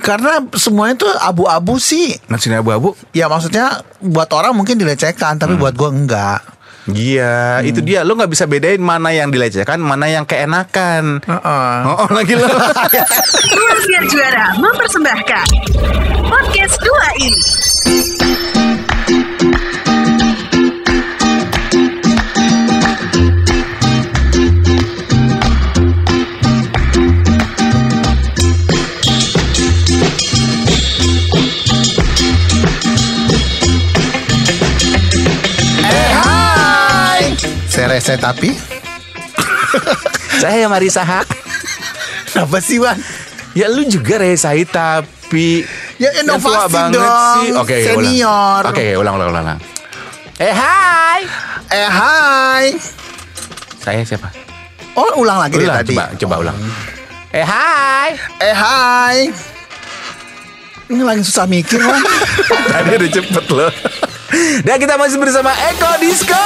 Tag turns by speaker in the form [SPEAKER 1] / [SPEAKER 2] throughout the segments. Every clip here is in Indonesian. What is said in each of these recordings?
[SPEAKER 1] Karena semuanya tuh abu-abu sih.
[SPEAKER 2] Nasinya abu-abu.
[SPEAKER 1] Ya maksudnya buat orang mungkin dilecehkan, tapi
[SPEAKER 2] Hmm.
[SPEAKER 1] buat gua enggak.
[SPEAKER 2] Iya, itu dia. Lo nggak bisa bedain mana yang dilecehkan, mana yang keenakan.
[SPEAKER 1] Heeh.
[SPEAKER 2] Oh, lagi lo.
[SPEAKER 3] Ruang Siar Juara mempersembahkan Podcast 2 ini
[SPEAKER 1] Hai. Saya rese tapi
[SPEAKER 2] Saya Marisa Hak.
[SPEAKER 1] Kenapa sih Wan?
[SPEAKER 2] Ya lu juga Resai tapi
[SPEAKER 1] Ya, inovasi
[SPEAKER 2] tua banget
[SPEAKER 1] dong,
[SPEAKER 2] sih. Oke, oke, ulang.
[SPEAKER 1] senior.
[SPEAKER 2] Oke, ya, ulang ulang ulang. ulang. Eh hai.
[SPEAKER 1] Eh hai
[SPEAKER 2] Saya siapa?
[SPEAKER 1] Oh ulang lagi deh
[SPEAKER 2] Ulang,
[SPEAKER 1] tadi
[SPEAKER 2] coba coba ulang. Eh hai.
[SPEAKER 1] Eh hai Ini lagi susah mikir Wan
[SPEAKER 2] Tadi udah cepet loh. Dan kita masih bersama Eko Disco.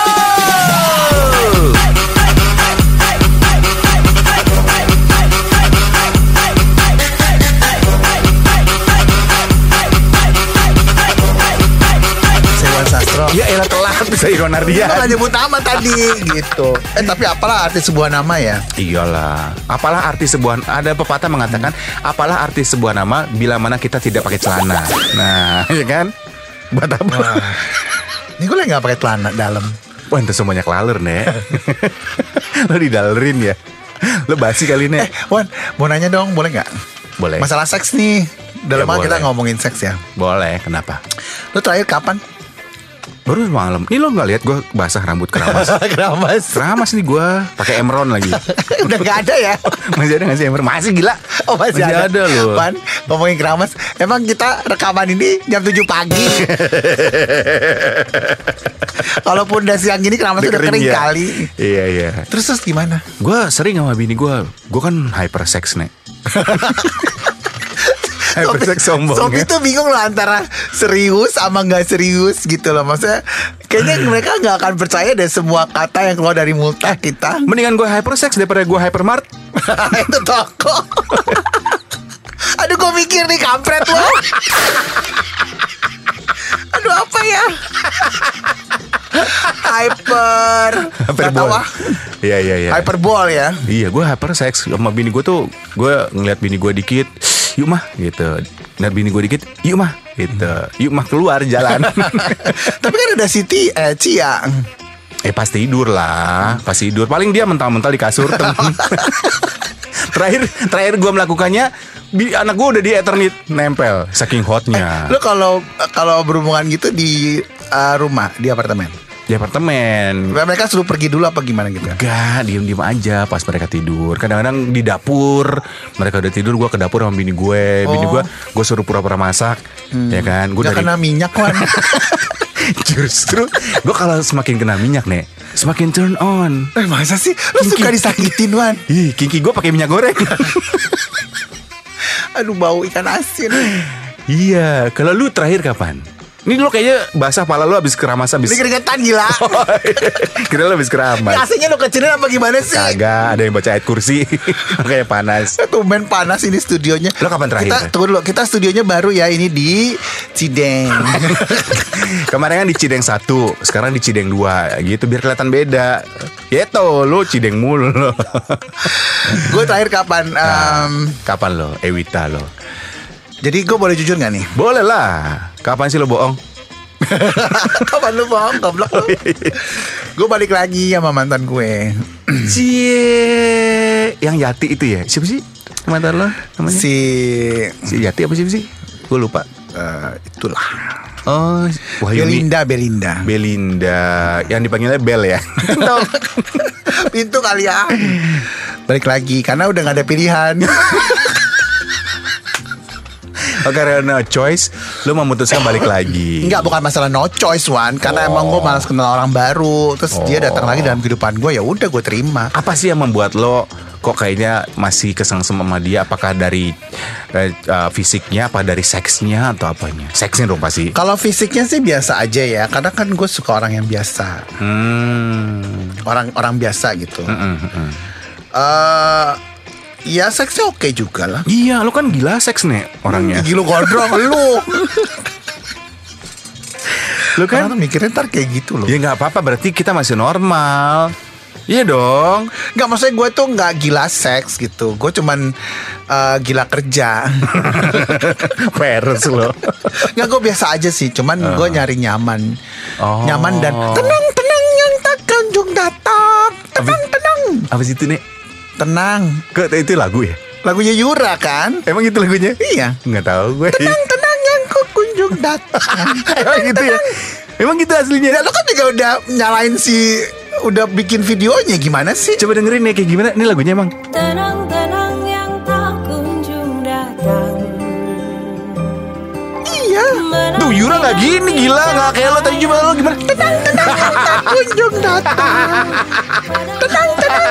[SPEAKER 1] Saya Wan Sastro
[SPEAKER 2] Ya elah telat bisa Iron
[SPEAKER 1] Dia nggak
[SPEAKER 2] Ardian.
[SPEAKER 1] nyebut nama tadi gitu Eh tapi apalah arti sebuah nama ya
[SPEAKER 2] Iyalah. Apalah arti sebuah ada pepatah mengatakan apalah arti sebuah nama bila mana kita tidak pakai celana. Nah, ya kan? Buat apa?
[SPEAKER 1] Ini gue lagi gak pakai celana dalam
[SPEAKER 2] Wah, itu semuanya kelalur, Nek. Lo didalerin ya. Lo basi kali,
[SPEAKER 1] Eh
[SPEAKER 2] Nek.
[SPEAKER 1] Wan mau nanya dong boleh gak?
[SPEAKER 2] Boleh.
[SPEAKER 1] Masalah seks nih Dalam
[SPEAKER 2] Ya,
[SPEAKER 1] hal kita
[SPEAKER 2] boleh.
[SPEAKER 1] ngomongin seks ya
[SPEAKER 2] Boleh, kenapa?
[SPEAKER 1] Lu terakhir kapan?
[SPEAKER 2] Baru malam. Ini lo nggak lihat gue basah rambut keramas.
[SPEAKER 1] Keramas
[SPEAKER 2] keramas nih gue pakai Emron lagi.
[SPEAKER 1] Udah gak ada ya
[SPEAKER 2] Masih ada nggak sih Emron? Masih gila.
[SPEAKER 1] Oh masih, ada,
[SPEAKER 2] loh.
[SPEAKER 1] Wan ngomongin keramas Emang kita rekaman ini jam 7 pagi Kalaupun udah siang gini keramas udah kering
[SPEAKER 2] ya.
[SPEAKER 1] kali
[SPEAKER 2] Iya, iya.
[SPEAKER 1] Terus terus gimana?
[SPEAKER 2] Gue sering sama bini gue Gue kan hypersex nek Hypersex sombong
[SPEAKER 1] Sob
[SPEAKER 2] ya.
[SPEAKER 1] itu bingung lah antara serius sama nggak serius gitu loh Maksudnya kayaknya mereka nggak akan percaya deh semua kata yang keluar dari mulut kita
[SPEAKER 2] Mendingan gue hypersex daripada gue hypermart
[SPEAKER 1] Itu toko Aduh gue mikir nih kampret lo Aduh apa ya Hyper Nggak tahu ah.
[SPEAKER 2] Iya iya iya
[SPEAKER 1] Hyperbol ya
[SPEAKER 2] Iya gue hypersex Sama bini gue tuh Gue ngeliat bini gue dikit Yuk mah gitu Ngeliat bini gue dikit Yuk mah gitu Yuk mah keluar jalan
[SPEAKER 1] Tapi kan ada Siti eh, Cia
[SPEAKER 2] Eh pas tidur lah Pas tidur Paling dia mental-mental di kasur temen. Terakhir Terakhir gue melakukannya bi- Anak gue udah di eternit Nempel Saking hotnya
[SPEAKER 1] Lo kalau kalau berhubungan gitu di eh, rumah Di apartemen
[SPEAKER 2] di apartemen.
[SPEAKER 1] Mereka suruh pergi dulu apa gimana gitu ya
[SPEAKER 2] Gak, diem-diem aja pas mereka tidur Kadang-kadang di dapur Mereka udah tidur, gue ke dapur sama bini gue Bini
[SPEAKER 1] Oh.
[SPEAKER 2] gue, gue suruh pura-pura masak Ya kan, gue
[SPEAKER 1] Gak
[SPEAKER 2] dari
[SPEAKER 1] kena minyak kan
[SPEAKER 2] Justru, gue kalau semakin kena minyak nih Semakin turn on
[SPEAKER 1] Eh masa sih Lo suka disakitin Wan
[SPEAKER 2] Ih, kinki gue pakai minyak goreng
[SPEAKER 1] Aduh bau ikan asin
[SPEAKER 2] Iya, kalau lu terakhir kapan? Ini lu kayaknya basah pala lu habis keramas habis
[SPEAKER 1] Ini keringetan gila
[SPEAKER 2] Kira lu
[SPEAKER 1] Ini
[SPEAKER 2] habis keramas
[SPEAKER 1] AC-nya lo kecilin apa gimana sih
[SPEAKER 2] Kagak, ada yang baca ayat kursi Kayak panas
[SPEAKER 1] Tumben panas ini studionya.
[SPEAKER 2] Lo kapan
[SPEAKER 1] Kita
[SPEAKER 2] terakhir?
[SPEAKER 1] tunggu dulu. Kita studionya baru ya ini di Cideng.
[SPEAKER 2] Kemarin kan di Cideng satu, sekarang di Cideng dua, gitu biar kelihatan beda. Ya tau lu Cideng mulu lo.
[SPEAKER 1] gue terakhir kapan?
[SPEAKER 2] Nah.
[SPEAKER 1] Em,
[SPEAKER 2] Kapan lo? Ewita lo.
[SPEAKER 1] jadi gue boleh jujur gak nih?
[SPEAKER 2] Boleh lah. Kapan sih lo bohong?
[SPEAKER 1] kapan lu bohong? Goblok
[SPEAKER 2] Oh,
[SPEAKER 1] lu.
[SPEAKER 2] iya,
[SPEAKER 1] gue balik lagi sama mantan gue.
[SPEAKER 2] Cie, yang Yati itu ya. Siapa sih? Mantan lo namanya? Si,
[SPEAKER 1] Si
[SPEAKER 2] Yati apa siapa sih? Gue lupa.
[SPEAKER 1] eh, itulah.
[SPEAKER 2] Oh, Wahyuni.
[SPEAKER 1] Belinda, Belinda.
[SPEAKER 2] Belinda, yang dipanggilnya Bel ya.
[SPEAKER 1] Pintu kali ya. Balik lagi karena udah gak ada pilihan.
[SPEAKER 2] Iya. Oke, karena choice, lo memutuskan balik lagi.
[SPEAKER 1] Enggak bukan masalah no choice one karena
[SPEAKER 2] Oh.
[SPEAKER 1] emang gue malas kenal orang baru. Terus dia
[SPEAKER 2] Oh.
[SPEAKER 1] datang lagi dalam kehidupan gue ya udah gue terima.
[SPEAKER 2] apa sih yang membuat lo kok kayaknya masih kesengsem sama dia apakah dari eh, eh, fisiknya apa dari seksnya atau apanya seksnya dong pasti
[SPEAKER 1] Kalau fisiknya sih biasa aja ya, karena kan gue suka orang yang biasa,
[SPEAKER 2] hmm.
[SPEAKER 1] orang orang biasa gitu.
[SPEAKER 2] Mm-mm, mm-mm.
[SPEAKER 1] Eh, Ya seksnya oke juga lah
[SPEAKER 2] Iya, lu kan gila seks nih orangnya.
[SPEAKER 1] Gila gondrong lu
[SPEAKER 2] Lu
[SPEAKER 1] Kan
[SPEAKER 2] kan?
[SPEAKER 1] Orang mikirnya ntar kayak gitu loh
[SPEAKER 2] Ya nggak apa-apa, berarti kita masih normal. Iya dong.
[SPEAKER 1] Nggak maksudnya gue tuh nggak gila seks gitu Gue cuman eh, gila kerja
[SPEAKER 2] Peres lo.
[SPEAKER 1] Nggak gue biasa aja sih Cuman gue nyari nyaman
[SPEAKER 2] Ah. Oh.
[SPEAKER 1] Nyaman dan tenang-tenang yang tak kunjung datang Tenang-tenang
[SPEAKER 2] Apa sih itu nih?
[SPEAKER 1] Tenang
[SPEAKER 2] Ke itu lagu ya?
[SPEAKER 1] Lagunya Yura kan
[SPEAKER 2] Emang itu lagunya?
[SPEAKER 1] Iya
[SPEAKER 2] Nggak tahu gue.
[SPEAKER 1] Tenang-tenang yang ku kunjung datang
[SPEAKER 2] Emang gitu ya? Emang gitu aslinya?
[SPEAKER 1] Ya lo kan juga udah nyalain si Udah bikin videonya gimana sih
[SPEAKER 2] Coba dengerin ya kayak gimana? Ini lagunya emang.
[SPEAKER 4] Tenang-tenang yang tak kunjung datang
[SPEAKER 1] Iya
[SPEAKER 2] Tuh Yura nggak gini gila nggak kayak lo tadi cuma lo gimana?
[SPEAKER 1] kunjung datang Tenang tenang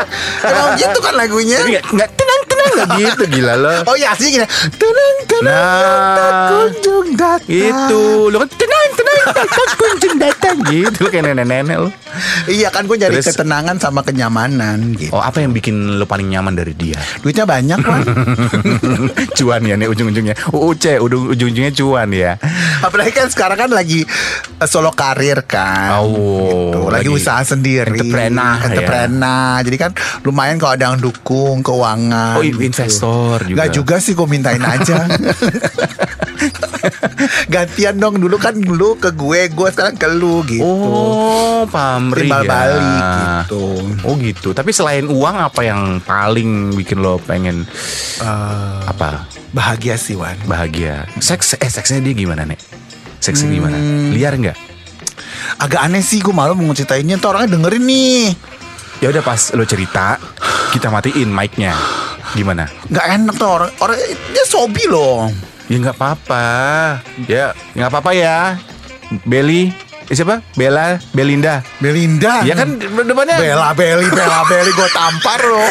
[SPEAKER 1] Emang gitu kan lagunya
[SPEAKER 2] Tapi nggak- nggak tenang tenang nggak gitu gila lo.
[SPEAKER 1] Oh iya sih gini Tenang tenang tak
[SPEAKER 2] Nah,
[SPEAKER 1] kunjung datang
[SPEAKER 2] itu lo kan tenang tenang datang kunjung datang gitu lo kayak nenek nenek lo.
[SPEAKER 1] Iya kan gue nyari
[SPEAKER 2] Terus-
[SPEAKER 1] ketenangan sama kenyamanan gitu
[SPEAKER 2] Oh apa yang bikin lo paling nyaman dari dia?
[SPEAKER 1] Duitnya banyak kan
[SPEAKER 2] cuan ya nih ujung-ujungnya. UUC ujung-ujungnya cuan ya.
[SPEAKER 1] Apalagi kan sekarang kan lagi eh, solo karir kan
[SPEAKER 2] Oh,
[SPEAKER 1] Tuh, lagi, usaha sendiri
[SPEAKER 2] entrepreneur ya.
[SPEAKER 1] Entrepreneur. Jadi kan lumayan kalau ada yang dukung Keuangan gitu.
[SPEAKER 2] Oh, investor juga.
[SPEAKER 1] Gak juga sih gue mintain aja Gantian dong dulu kan lu ke gue Gue sekarang ke lu gitu
[SPEAKER 2] Oh, pamri
[SPEAKER 1] Timbal
[SPEAKER 2] ya.
[SPEAKER 1] balik gitu.
[SPEAKER 2] Oh gitu. Tapi selain uang apa yang paling bikin lo pengen
[SPEAKER 1] Eh,
[SPEAKER 2] apa?
[SPEAKER 1] Bahagia sih Wan
[SPEAKER 2] Bahagia. Seks eh seksnya dia gimana, Nek? Seksnya gimana? Liar nggak?
[SPEAKER 1] Agak aneh sih gue malu mau ceritainnya Ntar orangnya dengerin nih
[SPEAKER 2] Ya udah pas lo cerita, kita matiin mic-nya. Gimana?
[SPEAKER 1] Gak enak tuh orang, orang Dia sobi loh
[SPEAKER 2] Ya nggak apa-apa. Ya, nggak apa-apa ya. Beli eh, siapa? Bella, Belinda.
[SPEAKER 1] Belinda
[SPEAKER 2] Ya kan depannya
[SPEAKER 1] Bela Beli Bela Beli gue tampar loh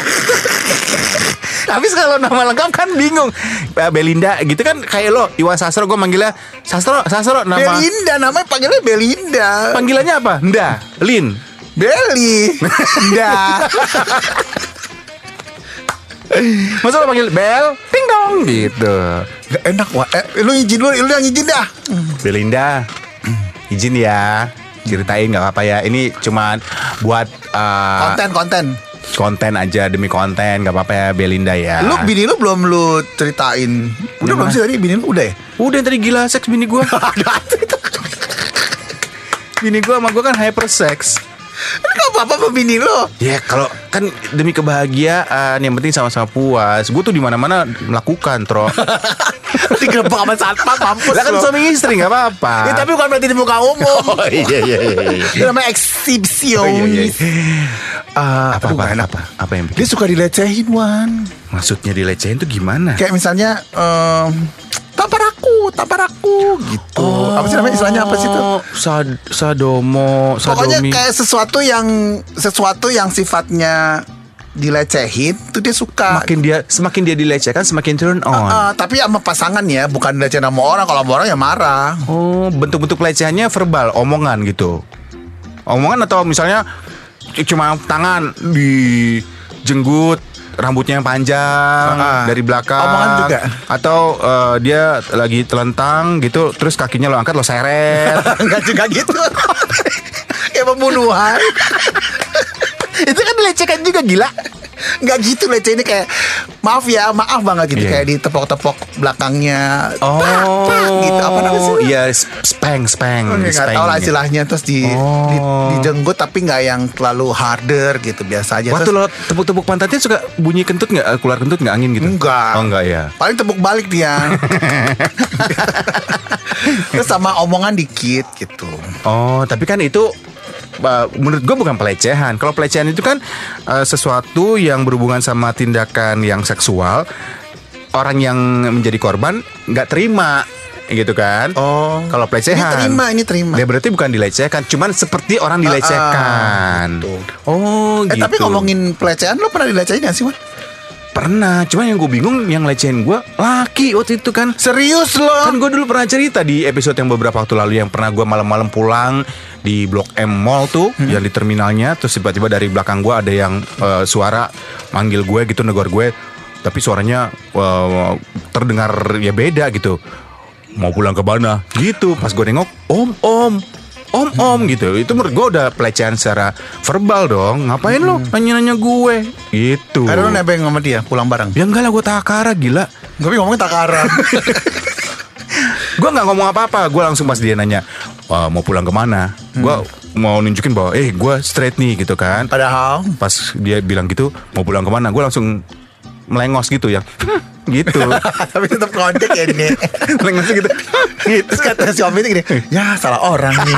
[SPEAKER 2] Habis kalau nama lengkap kan bingung. Eh, Belinda gitu kan kayak lo Iwan Sastro gue manggilnya Sastro Sastro nama
[SPEAKER 1] Belinda namanya panggilnya Belinda
[SPEAKER 2] panggilannya apa? Nda, Lin.
[SPEAKER 1] Beli Nda
[SPEAKER 2] Masa lo panggil Bel, ting dong gitu.
[SPEAKER 1] Gak enak wah eh, Lu izin lu, lu yang izin dah
[SPEAKER 2] Belinda, izin ya ceritain nggak apa-apa ya ini cuman buat eh,
[SPEAKER 1] Konten konten
[SPEAKER 2] konten aja demi konten nggak apa-apa ya Belinda ya
[SPEAKER 1] Lu bini lu belum lu ceritain Udah
[SPEAKER 2] Yang
[SPEAKER 1] belum
[SPEAKER 2] mana?
[SPEAKER 1] sih tadi bini lu udah ya
[SPEAKER 2] udah yang tadi gila seks bini gue bini gue sama gue kan hyper seks
[SPEAKER 1] Gak apa-apa sama bini lu
[SPEAKER 2] Ya kalau kan demi kebahagiaan yang penting sama-sama puas. Gue tuh di mana-mana melakukan, Tro.
[SPEAKER 1] Digerebek sama satpam mampus
[SPEAKER 2] Lah kan
[SPEAKER 1] lu.
[SPEAKER 2] suami istri nggak
[SPEAKER 1] Ya,
[SPEAKER 2] apa-apa.
[SPEAKER 1] tapi bukan berarti di muka umum
[SPEAKER 2] Ah. oh iya iya iya. iya.
[SPEAKER 1] Itu namanya
[SPEAKER 2] Oh, iya, iya.
[SPEAKER 1] eksibisionis Ah,
[SPEAKER 2] Apa
[SPEAKER 1] aduh,
[SPEAKER 2] apa,
[SPEAKER 1] gak enak.
[SPEAKER 2] apa apa yang bikin?
[SPEAKER 1] Dia suka dilecehin Wan
[SPEAKER 2] maksudnya dilecehin tuh gimana?
[SPEAKER 1] Kayak misalnya em, Tampar aku Tampar aku Gitu Apa sih namanya istilahnya apa sih itu
[SPEAKER 2] Oh, sad- sadomo,
[SPEAKER 1] Pokoknya
[SPEAKER 2] sadomi.
[SPEAKER 1] kayak sesuatu yang sesuatu yang sifatnya dilecehin tuh dia suka.
[SPEAKER 2] Makin dia semakin dia dilecehkan semakin turn on.
[SPEAKER 1] Eh, tapi sama pasangan ya, bukan dilecehin sama orang. Kalau sama orang ya marah.
[SPEAKER 2] Oh, bentuk-bentuk pelecehannya verbal, omongan gitu. Omongan atau misalnya c- cuma tangan di jenggut, rambutnya yang panjang
[SPEAKER 1] Ah, ah.
[SPEAKER 2] dari belakang.
[SPEAKER 1] Omongan juga.
[SPEAKER 2] Atau eh, dia lagi telentang gitu, terus kakinya lo angkat lo seret.
[SPEAKER 1] Enggak juga gitu. kayak pembunuhan.
[SPEAKER 2] Itu kan dilecehkan juga gila.
[SPEAKER 1] Enggak gitu lecehinnya kayak maaf ya, maaf banget gitu
[SPEAKER 2] Iya.
[SPEAKER 1] kayak ditepok-tepok belakangnya.
[SPEAKER 2] Oh,
[SPEAKER 1] Pak, pak, gitu apa namanya sih?
[SPEAKER 2] Iya, speng, speng,
[SPEAKER 1] Oke, nggak
[SPEAKER 2] speng.
[SPEAKER 1] tahu lah istilahnya terus di, di
[SPEAKER 2] Oh.
[SPEAKER 1] dijenggot tapi nggak yang terlalu harder gitu biasa aja.
[SPEAKER 2] Waktu
[SPEAKER 1] Terus-
[SPEAKER 2] lo tepuk-tepuk pantatnya suka bunyi kentut nggak? Eh, Keluar kentut nggak angin gitu?
[SPEAKER 1] Enggak.
[SPEAKER 2] Oh enggak ya.
[SPEAKER 1] Paling tepuk balik dia. Terus sama omongan dikit gitu.
[SPEAKER 2] Oh, tapi kan itu uh, menurut gue bukan pelecehan. Kalau pelecehan itu kan uh, sesuatu yang berhubungan sama tindakan yang seksual, orang yang menjadi korban nggak terima, gitu kan?
[SPEAKER 1] Oh.
[SPEAKER 2] Kalau pelecehan,
[SPEAKER 1] Ini terima, ini terima.
[SPEAKER 2] Ya berarti bukan dilecehkan, cuman seperti orang dilecehkan.
[SPEAKER 1] gitu.
[SPEAKER 2] Oh,
[SPEAKER 1] Eh
[SPEAKER 2] gitu.
[SPEAKER 1] tapi ngomongin pelecehan lo pernah dilecehin gak sih Wan?
[SPEAKER 2] pernah, cuman yang gue bingung yang lecehin gue laki waktu itu kan.
[SPEAKER 1] Serius lo?
[SPEAKER 2] Kan gue dulu pernah cerita di episode yang beberapa waktu lalu yang pernah gue malam-malam pulang di Blok M Mall tuh, yang di terminalnya, terus tiba-tiba dari belakang gue ada yang eh, suara manggil gue gitu negor gue, tapi suaranya uh, terdengar ya beda gitu mau pulang ke mana gitu pas gue nengok om om om om gitu itu menurut gue udah pelecehan secara verbal dong ngapain lo nanya nanya gue gitu
[SPEAKER 1] Karena lu nebeng sama dia pulang bareng.
[SPEAKER 2] ya enggak lah gue takara gila
[SPEAKER 1] Tapi ngomongnya takaran.
[SPEAKER 2] gue nggak ngomong apa-apa gue langsung pas dia nanya "Wah, mau pulang kemana gue mau nunjukin bahwa eh gue straight nih gitu kan
[SPEAKER 1] Padahal
[SPEAKER 2] pas dia bilang gitu mau pulang kemana gue langsung melengos gitu ya gitu
[SPEAKER 1] tapi tetap kontak ya ini.
[SPEAKER 2] melengos gitu
[SPEAKER 1] Terus kata si Om itu gini, ya salah orang nih.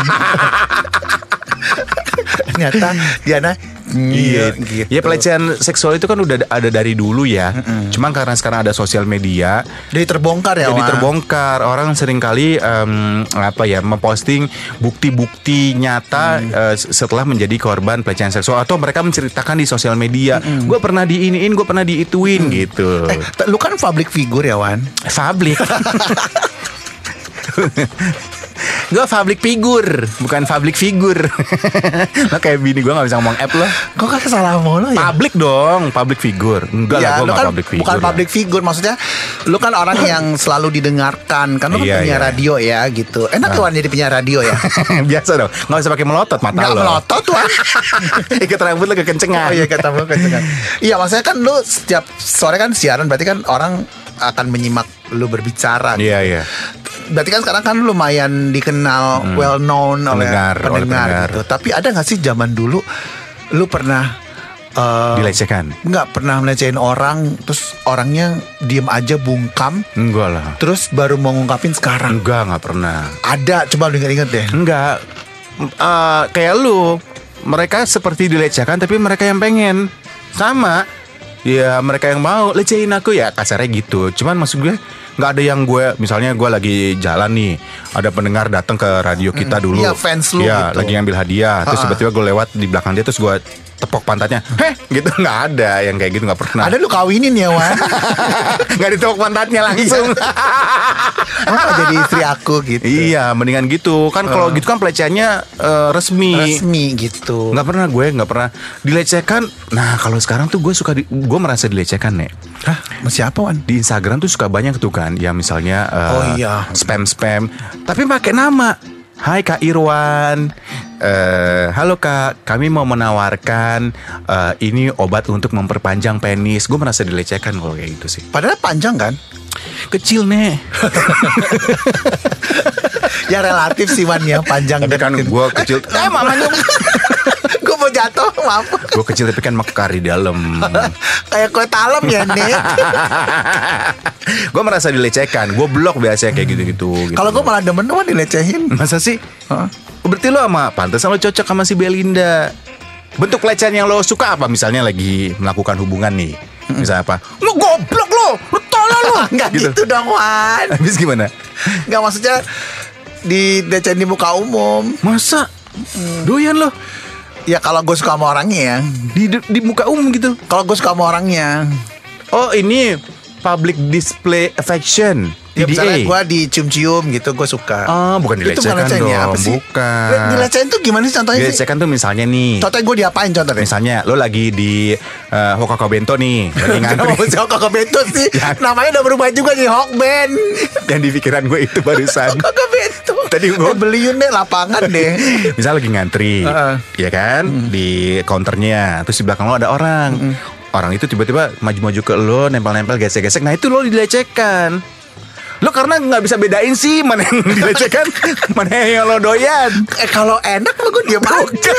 [SPEAKER 1] Ternyata Diana
[SPEAKER 2] Iya,
[SPEAKER 1] gitu.
[SPEAKER 2] ya pelecehan seksual itu kan udah ada- ada dari dulu ya. Cuman karena sekarang ada sosial media,
[SPEAKER 1] Jadi terbongkar ya.
[SPEAKER 2] jadi
[SPEAKER 1] Wak?
[SPEAKER 2] terbongkar. Orang seringkali em, apa ya memposting bukti-bukti nyata
[SPEAKER 1] Hmm.
[SPEAKER 2] eh, setelah menjadi korban pelecehan seksual atau mereka menceritakan di sosial media. Gue pernah diiniin, gue pernah diituin gitu.
[SPEAKER 1] Hmm. Eh, t- lu kan public figure ya Wan.
[SPEAKER 2] Fablik. gue public figure, bukan public figure. Lo kayak bini gue gak bisa ngomong app lo.
[SPEAKER 1] Kok kan salah mulu ya?
[SPEAKER 2] Public dong, public figure. Enggak lah,
[SPEAKER 1] Ya,
[SPEAKER 2] gue
[SPEAKER 1] lu
[SPEAKER 2] gak
[SPEAKER 1] kan
[SPEAKER 2] public figure.
[SPEAKER 1] bukan
[SPEAKER 2] lah.
[SPEAKER 1] public figure maksudnya lu kan orang yang selalu didengarkan kan lu kan
[SPEAKER 2] Iya,
[SPEAKER 1] punya
[SPEAKER 2] iya. Nah.
[SPEAKER 1] radio ya gitu enak ya Wan jadi punya radio ya
[SPEAKER 2] Biasa dong, gak usah pakai melotot mata
[SPEAKER 1] nggak
[SPEAKER 2] lo.
[SPEAKER 1] melotot Wan
[SPEAKER 2] Ikat rambut lo kekencengan.
[SPEAKER 1] oh iya kata lu kecengang. iya maksudnya kan lu setiap sore kan siaran berarti kan orang akan menyimak lu berbicara
[SPEAKER 2] Iya, iya.
[SPEAKER 1] berarti kan sekarang kan lumayan dikenal well known oleh pendengar,
[SPEAKER 2] Hmm. Pendengar, oleh pendengar.
[SPEAKER 1] gitu tapi ada nggak sih zaman dulu lu pernah eh,
[SPEAKER 2] Dilecehkan.
[SPEAKER 1] nggak pernah melecehin orang terus orangnya diem aja bungkam
[SPEAKER 2] Enggak lah.
[SPEAKER 1] terus baru mau ngungkapin sekarang
[SPEAKER 2] Enggak, enggak pernah.
[SPEAKER 1] ada coba lu inget-inget deh
[SPEAKER 2] Enggak. M- eh, kayak lu, mereka seperti dilecehkan tapi mereka yang pengen. Sama. Ya, mereka yang mau lecehin aku ya kasarnya gitu. Cuman maksud gue nggak ada yang gue misalnya gue lagi jalan nih ada pendengar datang ke radio kita dulu
[SPEAKER 1] Iya, fans lu
[SPEAKER 2] Iya,
[SPEAKER 1] gitu.
[SPEAKER 2] lagi ngambil hadiah terus
[SPEAKER 1] Ha-ha.
[SPEAKER 2] tiba-tiba gue lewat di belakang dia terus gue tepok pantatnya heh gitu nggak ada yang kayak gitu nggak pernah
[SPEAKER 1] ada lu kawinin ya Wan
[SPEAKER 2] nggak ditepok pantatnya langsung
[SPEAKER 1] Kenapa jadi istri aku gitu
[SPEAKER 2] Iya, mendingan gitu. Kan kalau gitu kan pelecehannya eh, resmi.
[SPEAKER 1] resmi gitu
[SPEAKER 2] Nggak pernah gue, nggak pernah dilecehkan. Nah, kalau sekarang tuh gue suka, di- gue merasa dilecehkan nih.
[SPEAKER 1] Hah masih apa Wan
[SPEAKER 2] Di Instagram tuh suka banyak tuh kan, yang misalnya eh,
[SPEAKER 1] Oh, iya.
[SPEAKER 2] spam-spam. Tapi pakai nama. Hai Kak Irwan, Eh, halo Kak, kami mau menawarkan eh, ini obat untuk memperpanjang penis. Gue merasa dilecehkan kalau kayak gitu sih.
[SPEAKER 1] padahal panjang kan
[SPEAKER 2] Kecil nih.
[SPEAKER 1] ya relatif sih Wan ya panjang
[SPEAKER 2] Tapi kan
[SPEAKER 1] gitu.
[SPEAKER 2] gue kecil.
[SPEAKER 1] Eh mamanya Gue mau jatuh Maaf
[SPEAKER 2] gue kecil tapi kan mekar di dalam.
[SPEAKER 1] Kayak kue talam ya Nek
[SPEAKER 2] Gitu. gue merasa dilecehkan gue blok biasanya kayak gitu-gitu gitu.
[SPEAKER 1] Kalau gue malah demen Gue dilecehin
[SPEAKER 2] masa sih
[SPEAKER 1] Heeh.
[SPEAKER 2] berarti lo sama pantesan lo cocok sama si Belinda bentuk pelecehan yang lo suka apa misalnya lagi melakukan hubungan nih misalnya apa lo goblok lo lo tolol lo
[SPEAKER 1] Enggak gitu.
[SPEAKER 2] Gitu.
[SPEAKER 1] dong Wan
[SPEAKER 2] habis gimana
[SPEAKER 1] Enggak maksudnya Dilecehin di muka umum
[SPEAKER 2] masa
[SPEAKER 1] Mm.
[SPEAKER 2] doyan lo
[SPEAKER 1] Ya kalau gue suka sama orangnya ya
[SPEAKER 2] di di muka umum gitu
[SPEAKER 1] Kalau gue suka sama orangnya
[SPEAKER 2] oh ini public display affection
[SPEAKER 1] Ya misalnya
[SPEAKER 2] PDA
[SPEAKER 1] gue dicium-cium gitu Gue suka
[SPEAKER 2] Ah, bukan
[SPEAKER 1] Itu bukan
[SPEAKER 2] dilecehkan
[SPEAKER 1] ya,
[SPEAKER 2] dong,
[SPEAKER 1] apa sih?
[SPEAKER 2] bukan.
[SPEAKER 1] Dilecehin tuh gimana sih contohnya sih
[SPEAKER 2] dilecehkan tuh misalnya nih
[SPEAKER 1] Contohnya gue diapain contohnya
[SPEAKER 2] misalnya lo lagi di eh, Hokka Bento nih lagi
[SPEAKER 1] Kenapa
[SPEAKER 2] ngantri
[SPEAKER 1] mesti Hokka Bento sih
[SPEAKER 2] Ya.
[SPEAKER 1] Namanya udah berubah juga jadi Hokben
[SPEAKER 2] yang di pikiran gue itu barusan
[SPEAKER 1] Hokka Bento
[SPEAKER 2] Tadi gua-
[SPEAKER 1] Eh, beliin deh lapangan deh
[SPEAKER 2] misal lagi ngantri
[SPEAKER 1] Heeh.
[SPEAKER 2] ya kan di counternya terus di belakang lo ada orang orang itu tiba-tiba maju-maju ke lo nempel-nempel gesek-gesek nah itu lo dilecehkan lo karena nggak bisa bedain sih mana yang dilecehkan mana yang lo doyan
[SPEAKER 1] Eh kalau enak mah gue diam aja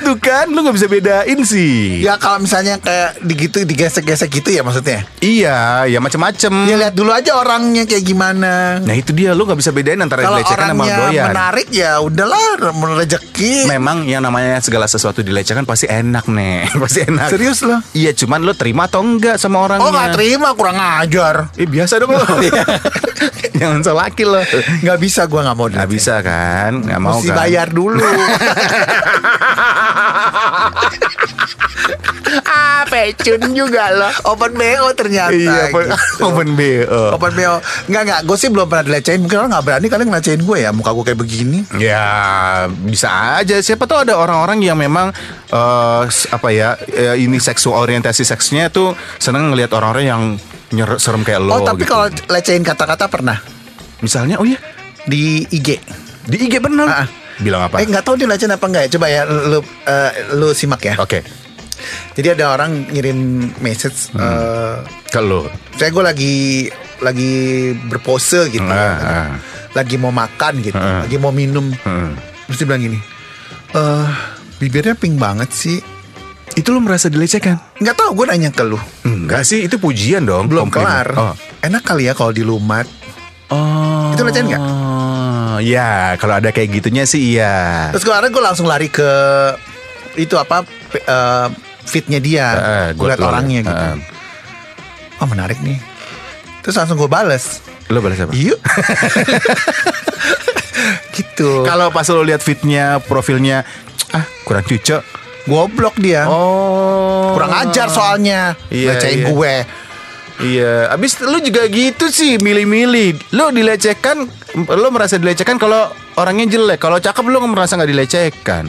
[SPEAKER 2] tuh kan lo nggak bisa bedain sih
[SPEAKER 1] Ya kalau misalnya kayak digitu digesek-gesek gitu ya maksudnya
[SPEAKER 2] iya ya macem-macem
[SPEAKER 1] Ya lihat dulu aja orangnya kayak gimana
[SPEAKER 2] nah itu dia lo nggak bisa bedain antara
[SPEAKER 1] Kalau
[SPEAKER 2] dilecehkan sama
[SPEAKER 1] orangnya
[SPEAKER 2] doyan
[SPEAKER 1] menarik ya udahlah rezeki
[SPEAKER 2] Memang yang namanya segala sesuatu dilecehkan pasti enak nih, pasti enak.
[SPEAKER 1] Serius lo?
[SPEAKER 2] Iya, cuman lo terima atau enggak sama orangnya?
[SPEAKER 1] Oh gak terima kurang ajar
[SPEAKER 2] Eh biasa dong lo
[SPEAKER 1] Iya.
[SPEAKER 2] Jangan so laki lo
[SPEAKER 1] Gak bisa gue gak mau
[SPEAKER 2] Gak
[SPEAKER 1] dilecehkan.
[SPEAKER 2] bisa kan Gak mau
[SPEAKER 1] Mesti
[SPEAKER 2] kan
[SPEAKER 1] bayar dulu
[SPEAKER 2] Ah,
[SPEAKER 5] pecun juga loh.
[SPEAKER 1] Open BO ternyata.
[SPEAKER 2] Iya, open-
[SPEAKER 1] gitu.
[SPEAKER 2] open eh. BO.
[SPEAKER 1] Open BO. Enggak enggak, gue sih belum pernah dilecehin. Mungkin orang nggak berani kali ngelecehin gue ya, muka gue kayak begini.
[SPEAKER 2] Ya bisa aja siapa tahu ada orang-orang yang memang eh, s- apa ya eh, ini seksual orientasi seksnya tuh seneng ngelihat orang-orang yang nyer serem kayak lo.
[SPEAKER 1] Oh, tapi
[SPEAKER 2] gitu.
[SPEAKER 1] kalau lecehin kata-kata pernah
[SPEAKER 2] misalnya oh iya
[SPEAKER 1] di IG.
[SPEAKER 2] di IG bener
[SPEAKER 1] Ah, ah.
[SPEAKER 2] bilang apa?
[SPEAKER 1] Eh nggak tahu dia lecehin apa enggak ya. Coba ya lu lu, eh, lu simak ya.
[SPEAKER 2] Oke
[SPEAKER 1] Jadi ada orang ngirim message
[SPEAKER 2] Hmm.
[SPEAKER 1] eh,
[SPEAKER 2] kalau
[SPEAKER 1] saya gue lagi lagi berpose gitu
[SPEAKER 2] Ah,
[SPEAKER 1] ya.
[SPEAKER 2] ah. Hmm.
[SPEAKER 1] lagi mau makan gitu
[SPEAKER 2] Ah.
[SPEAKER 1] lagi mau minum terus dia bilang gini eh bibirnya pink banget sih
[SPEAKER 2] itu lo merasa dilecehkan?
[SPEAKER 1] nggak tahu gue nanya ke lu
[SPEAKER 2] Enggak sih itu pujian dong.
[SPEAKER 1] belum
[SPEAKER 2] komplimen.
[SPEAKER 1] kelar
[SPEAKER 2] Oh.
[SPEAKER 1] enak kali ya kalau dilumat
[SPEAKER 2] Oh.
[SPEAKER 1] Itu lecehan nggak?
[SPEAKER 2] Ya kalau ada kayak gitunya sih iya.
[SPEAKER 1] terus gue gue langsung lari ke itu apa pe- eh, fitnya dia
[SPEAKER 2] Eh,
[SPEAKER 1] gue liat
[SPEAKER 2] tuh-
[SPEAKER 1] orangnya gitu
[SPEAKER 2] eh,
[SPEAKER 1] oh menarik nih terus langsung gue bales
[SPEAKER 2] Lo balas apa?
[SPEAKER 1] yuk gitu
[SPEAKER 2] Kalau pas lo lihat fitnya, profilnya ah kurang cocok.
[SPEAKER 1] goblok dia
[SPEAKER 2] Oh.
[SPEAKER 1] kurang ajar soalnya
[SPEAKER 2] Iya,
[SPEAKER 1] Bacain
[SPEAKER 2] iya.
[SPEAKER 1] gue
[SPEAKER 2] Iya, abis lu juga gitu sih milih-milih. Lu dilecehkan, lu merasa dilecehkan kalau orangnya jelek. Kalau cakep lu merasa nggak dilecehkan.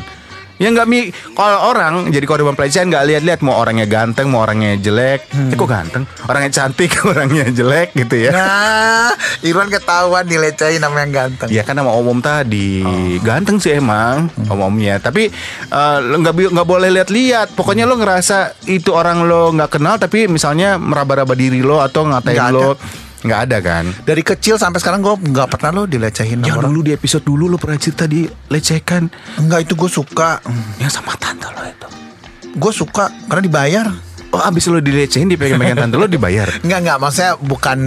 [SPEAKER 2] Ya nggak mi kalau orang jadi korban pelecehan nggak lihat-lihat mau orangnya ganteng, mau orangnya jelek. Eh, kok ganteng? Orangnya cantik, orangnya jelek gitu ya.
[SPEAKER 1] Hmm. nah Irwan ketahuan dilecehin sama yang ganteng
[SPEAKER 2] Ya kan sama om-om tadi
[SPEAKER 1] Oh.
[SPEAKER 2] Ganteng sih emang
[SPEAKER 1] Hmm.
[SPEAKER 2] om-omnya Tapi eh, lo nggak bi- nggak boleh lihat-lihat Pokoknya lo ngerasa itu orang lo nggak kenal Tapi misalnya meraba-raba diri lo Atau ngatain
[SPEAKER 1] Nggak ada.
[SPEAKER 2] lo nggak ada kan
[SPEAKER 1] dari kecil sampai sekarang gue nggak pernah lo dilecehin
[SPEAKER 2] Ya
[SPEAKER 1] sama orang
[SPEAKER 2] dulu di episode dulu lo pernah cerita di lecehkan
[SPEAKER 1] enggak itu gue suka
[SPEAKER 2] Yang sama tante lo itu
[SPEAKER 1] gue suka karena dibayar
[SPEAKER 2] Oh abis lo dilecehin di pegang tante lo dibayar
[SPEAKER 1] Enggak enggak maksudnya bukan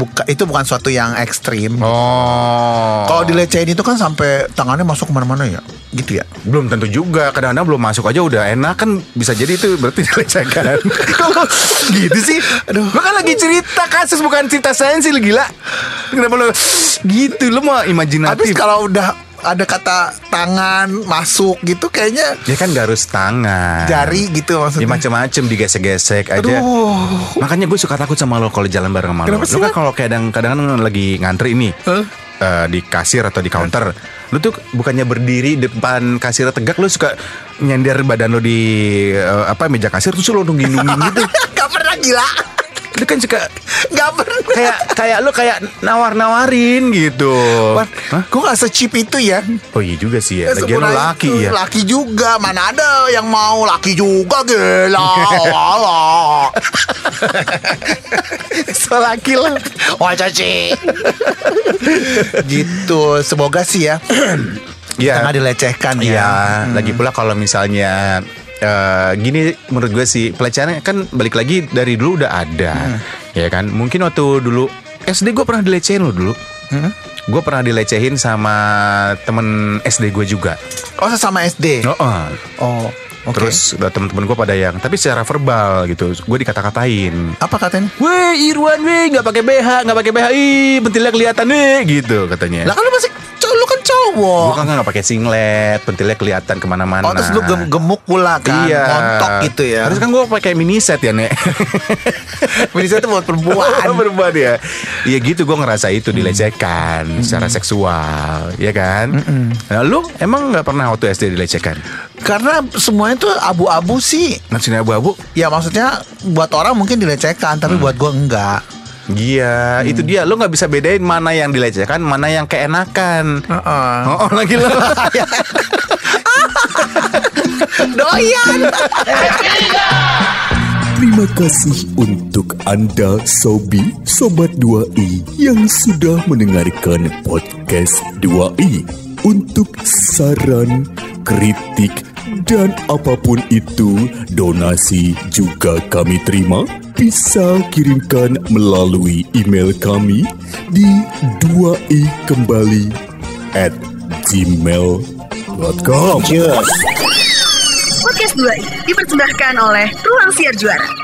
[SPEAKER 1] buka itu bukan suatu yang ekstrim
[SPEAKER 2] Oh
[SPEAKER 1] kalau dilecehin itu kan sampai tangannya masuk kemana-mana ya gitu ya
[SPEAKER 2] Belum tentu juga Kadang-kadang belum masuk aja udah enak Kan bisa jadi itu berarti dilecehkan Kalau gitu sih Aduh Lo kan lagi cerita kasus Bukan cerita sensil gila Kenapa lo Gitu Lo mau
[SPEAKER 1] habis
[SPEAKER 2] imajinatif
[SPEAKER 1] kalau udah ada kata tangan masuk gitu kayaknya
[SPEAKER 2] Ya kan gak harus tangan
[SPEAKER 1] jari gitu
[SPEAKER 2] Ya
[SPEAKER 1] maksudnya
[SPEAKER 2] macem-macem digesek-gesek aja
[SPEAKER 1] Aduh.
[SPEAKER 2] Makanya gue suka takut sama lo kalau jalan bareng sama
[SPEAKER 1] Kenapa
[SPEAKER 2] lo. Lo
[SPEAKER 1] sih,
[SPEAKER 2] kan
[SPEAKER 1] Mat?
[SPEAKER 2] kalau kadang-kadang lagi ngantri nih
[SPEAKER 1] Hah?
[SPEAKER 2] eh, di kasir atau di counter, lo tuh bukannya berdiri depan kasir tegak, lo suka nyender badan lo di eh, apa meja kasir terus lo nungging-nungging gitu.
[SPEAKER 1] Gak pernah gila
[SPEAKER 2] Lo kan suka
[SPEAKER 1] Gak pernah
[SPEAKER 2] kayak kayak lo kayak nawar-nawarin gitu.
[SPEAKER 1] Wan,
[SPEAKER 2] Hah?
[SPEAKER 1] gue gak se-cheap itu ya
[SPEAKER 2] Oh iya juga sih ya. Lagian lo
[SPEAKER 1] Sebenarnya
[SPEAKER 2] laki
[SPEAKER 1] itu,
[SPEAKER 2] ya.
[SPEAKER 1] Laki juga Mana ada yang mau laki juga Gila Allah
[SPEAKER 2] Selaki lo. Oh,
[SPEAKER 1] Wah caci Gitu Semoga sih ya
[SPEAKER 2] Iya.
[SPEAKER 1] Jangan dilecehkan
[SPEAKER 2] Iya,
[SPEAKER 1] ya
[SPEAKER 2] lagi pula kalau misalnya eh, gini menurut gue sih pelecehan kan balik lagi dari dulu udah ada. Ya kan? Mungkin waktu dulu SD gue pernah dilecehin lo dulu. Gue pernah dilecehin sama temen SD gue juga.
[SPEAKER 1] Oh sesama SD
[SPEAKER 2] Heeh.
[SPEAKER 1] Oh oke
[SPEAKER 2] Terus udah temen-temen gue pada yang tapi secara verbal gitu. Gue dikata-katain.
[SPEAKER 1] Apa katanya?
[SPEAKER 2] Weh Irwan weh nggak pakai BH, nggak pakai BH. Ih, pentilnya kelihatan weh gitu katanya.
[SPEAKER 1] Lah kan lu masih cowok Lu kan cowok
[SPEAKER 2] Gue kan nggak pakai singlet, pentilnya kelihatan kemana-mana.
[SPEAKER 1] Oh terus lu gem- gemuk pula kan
[SPEAKER 2] Iya.
[SPEAKER 1] Montok gitu ya
[SPEAKER 2] Harus kan gue pakai mini set ya nek.
[SPEAKER 1] Misalnya itu buat perempuan
[SPEAKER 2] Perempuan ya. Iya gitu gue ngerasa itu dilecehkan secara seksual, ya kan? Nah, lu emang nggak pernah waktu SD dilecehkan?
[SPEAKER 1] Karena semuanya tuh abu-abu sih
[SPEAKER 2] Nafsunya abu-abu?
[SPEAKER 1] Ya maksudnya buat orang mungkin dilecehkan
[SPEAKER 2] Hmm.
[SPEAKER 1] tapi buat gue enggak.
[SPEAKER 2] Iya, itu dia. Lu nggak bisa bedain mana yang dilecehkan, mana yang keenakan.
[SPEAKER 1] Heeh.
[SPEAKER 2] Oh, oh, lagi lo.
[SPEAKER 1] Doyan.
[SPEAKER 6] Terima kasih untuk Anda Sobi Sobat 2i yang sudah mendengarkan podcast 2i. Untuk saran, kritik, dan apapun itu, donasi juga kami terima. Bisa kirimkan melalui email kami di 2i kembali at gmail.com.
[SPEAKER 3] Podcast 2 dipersembahkan oleh Ruang Siar Juara.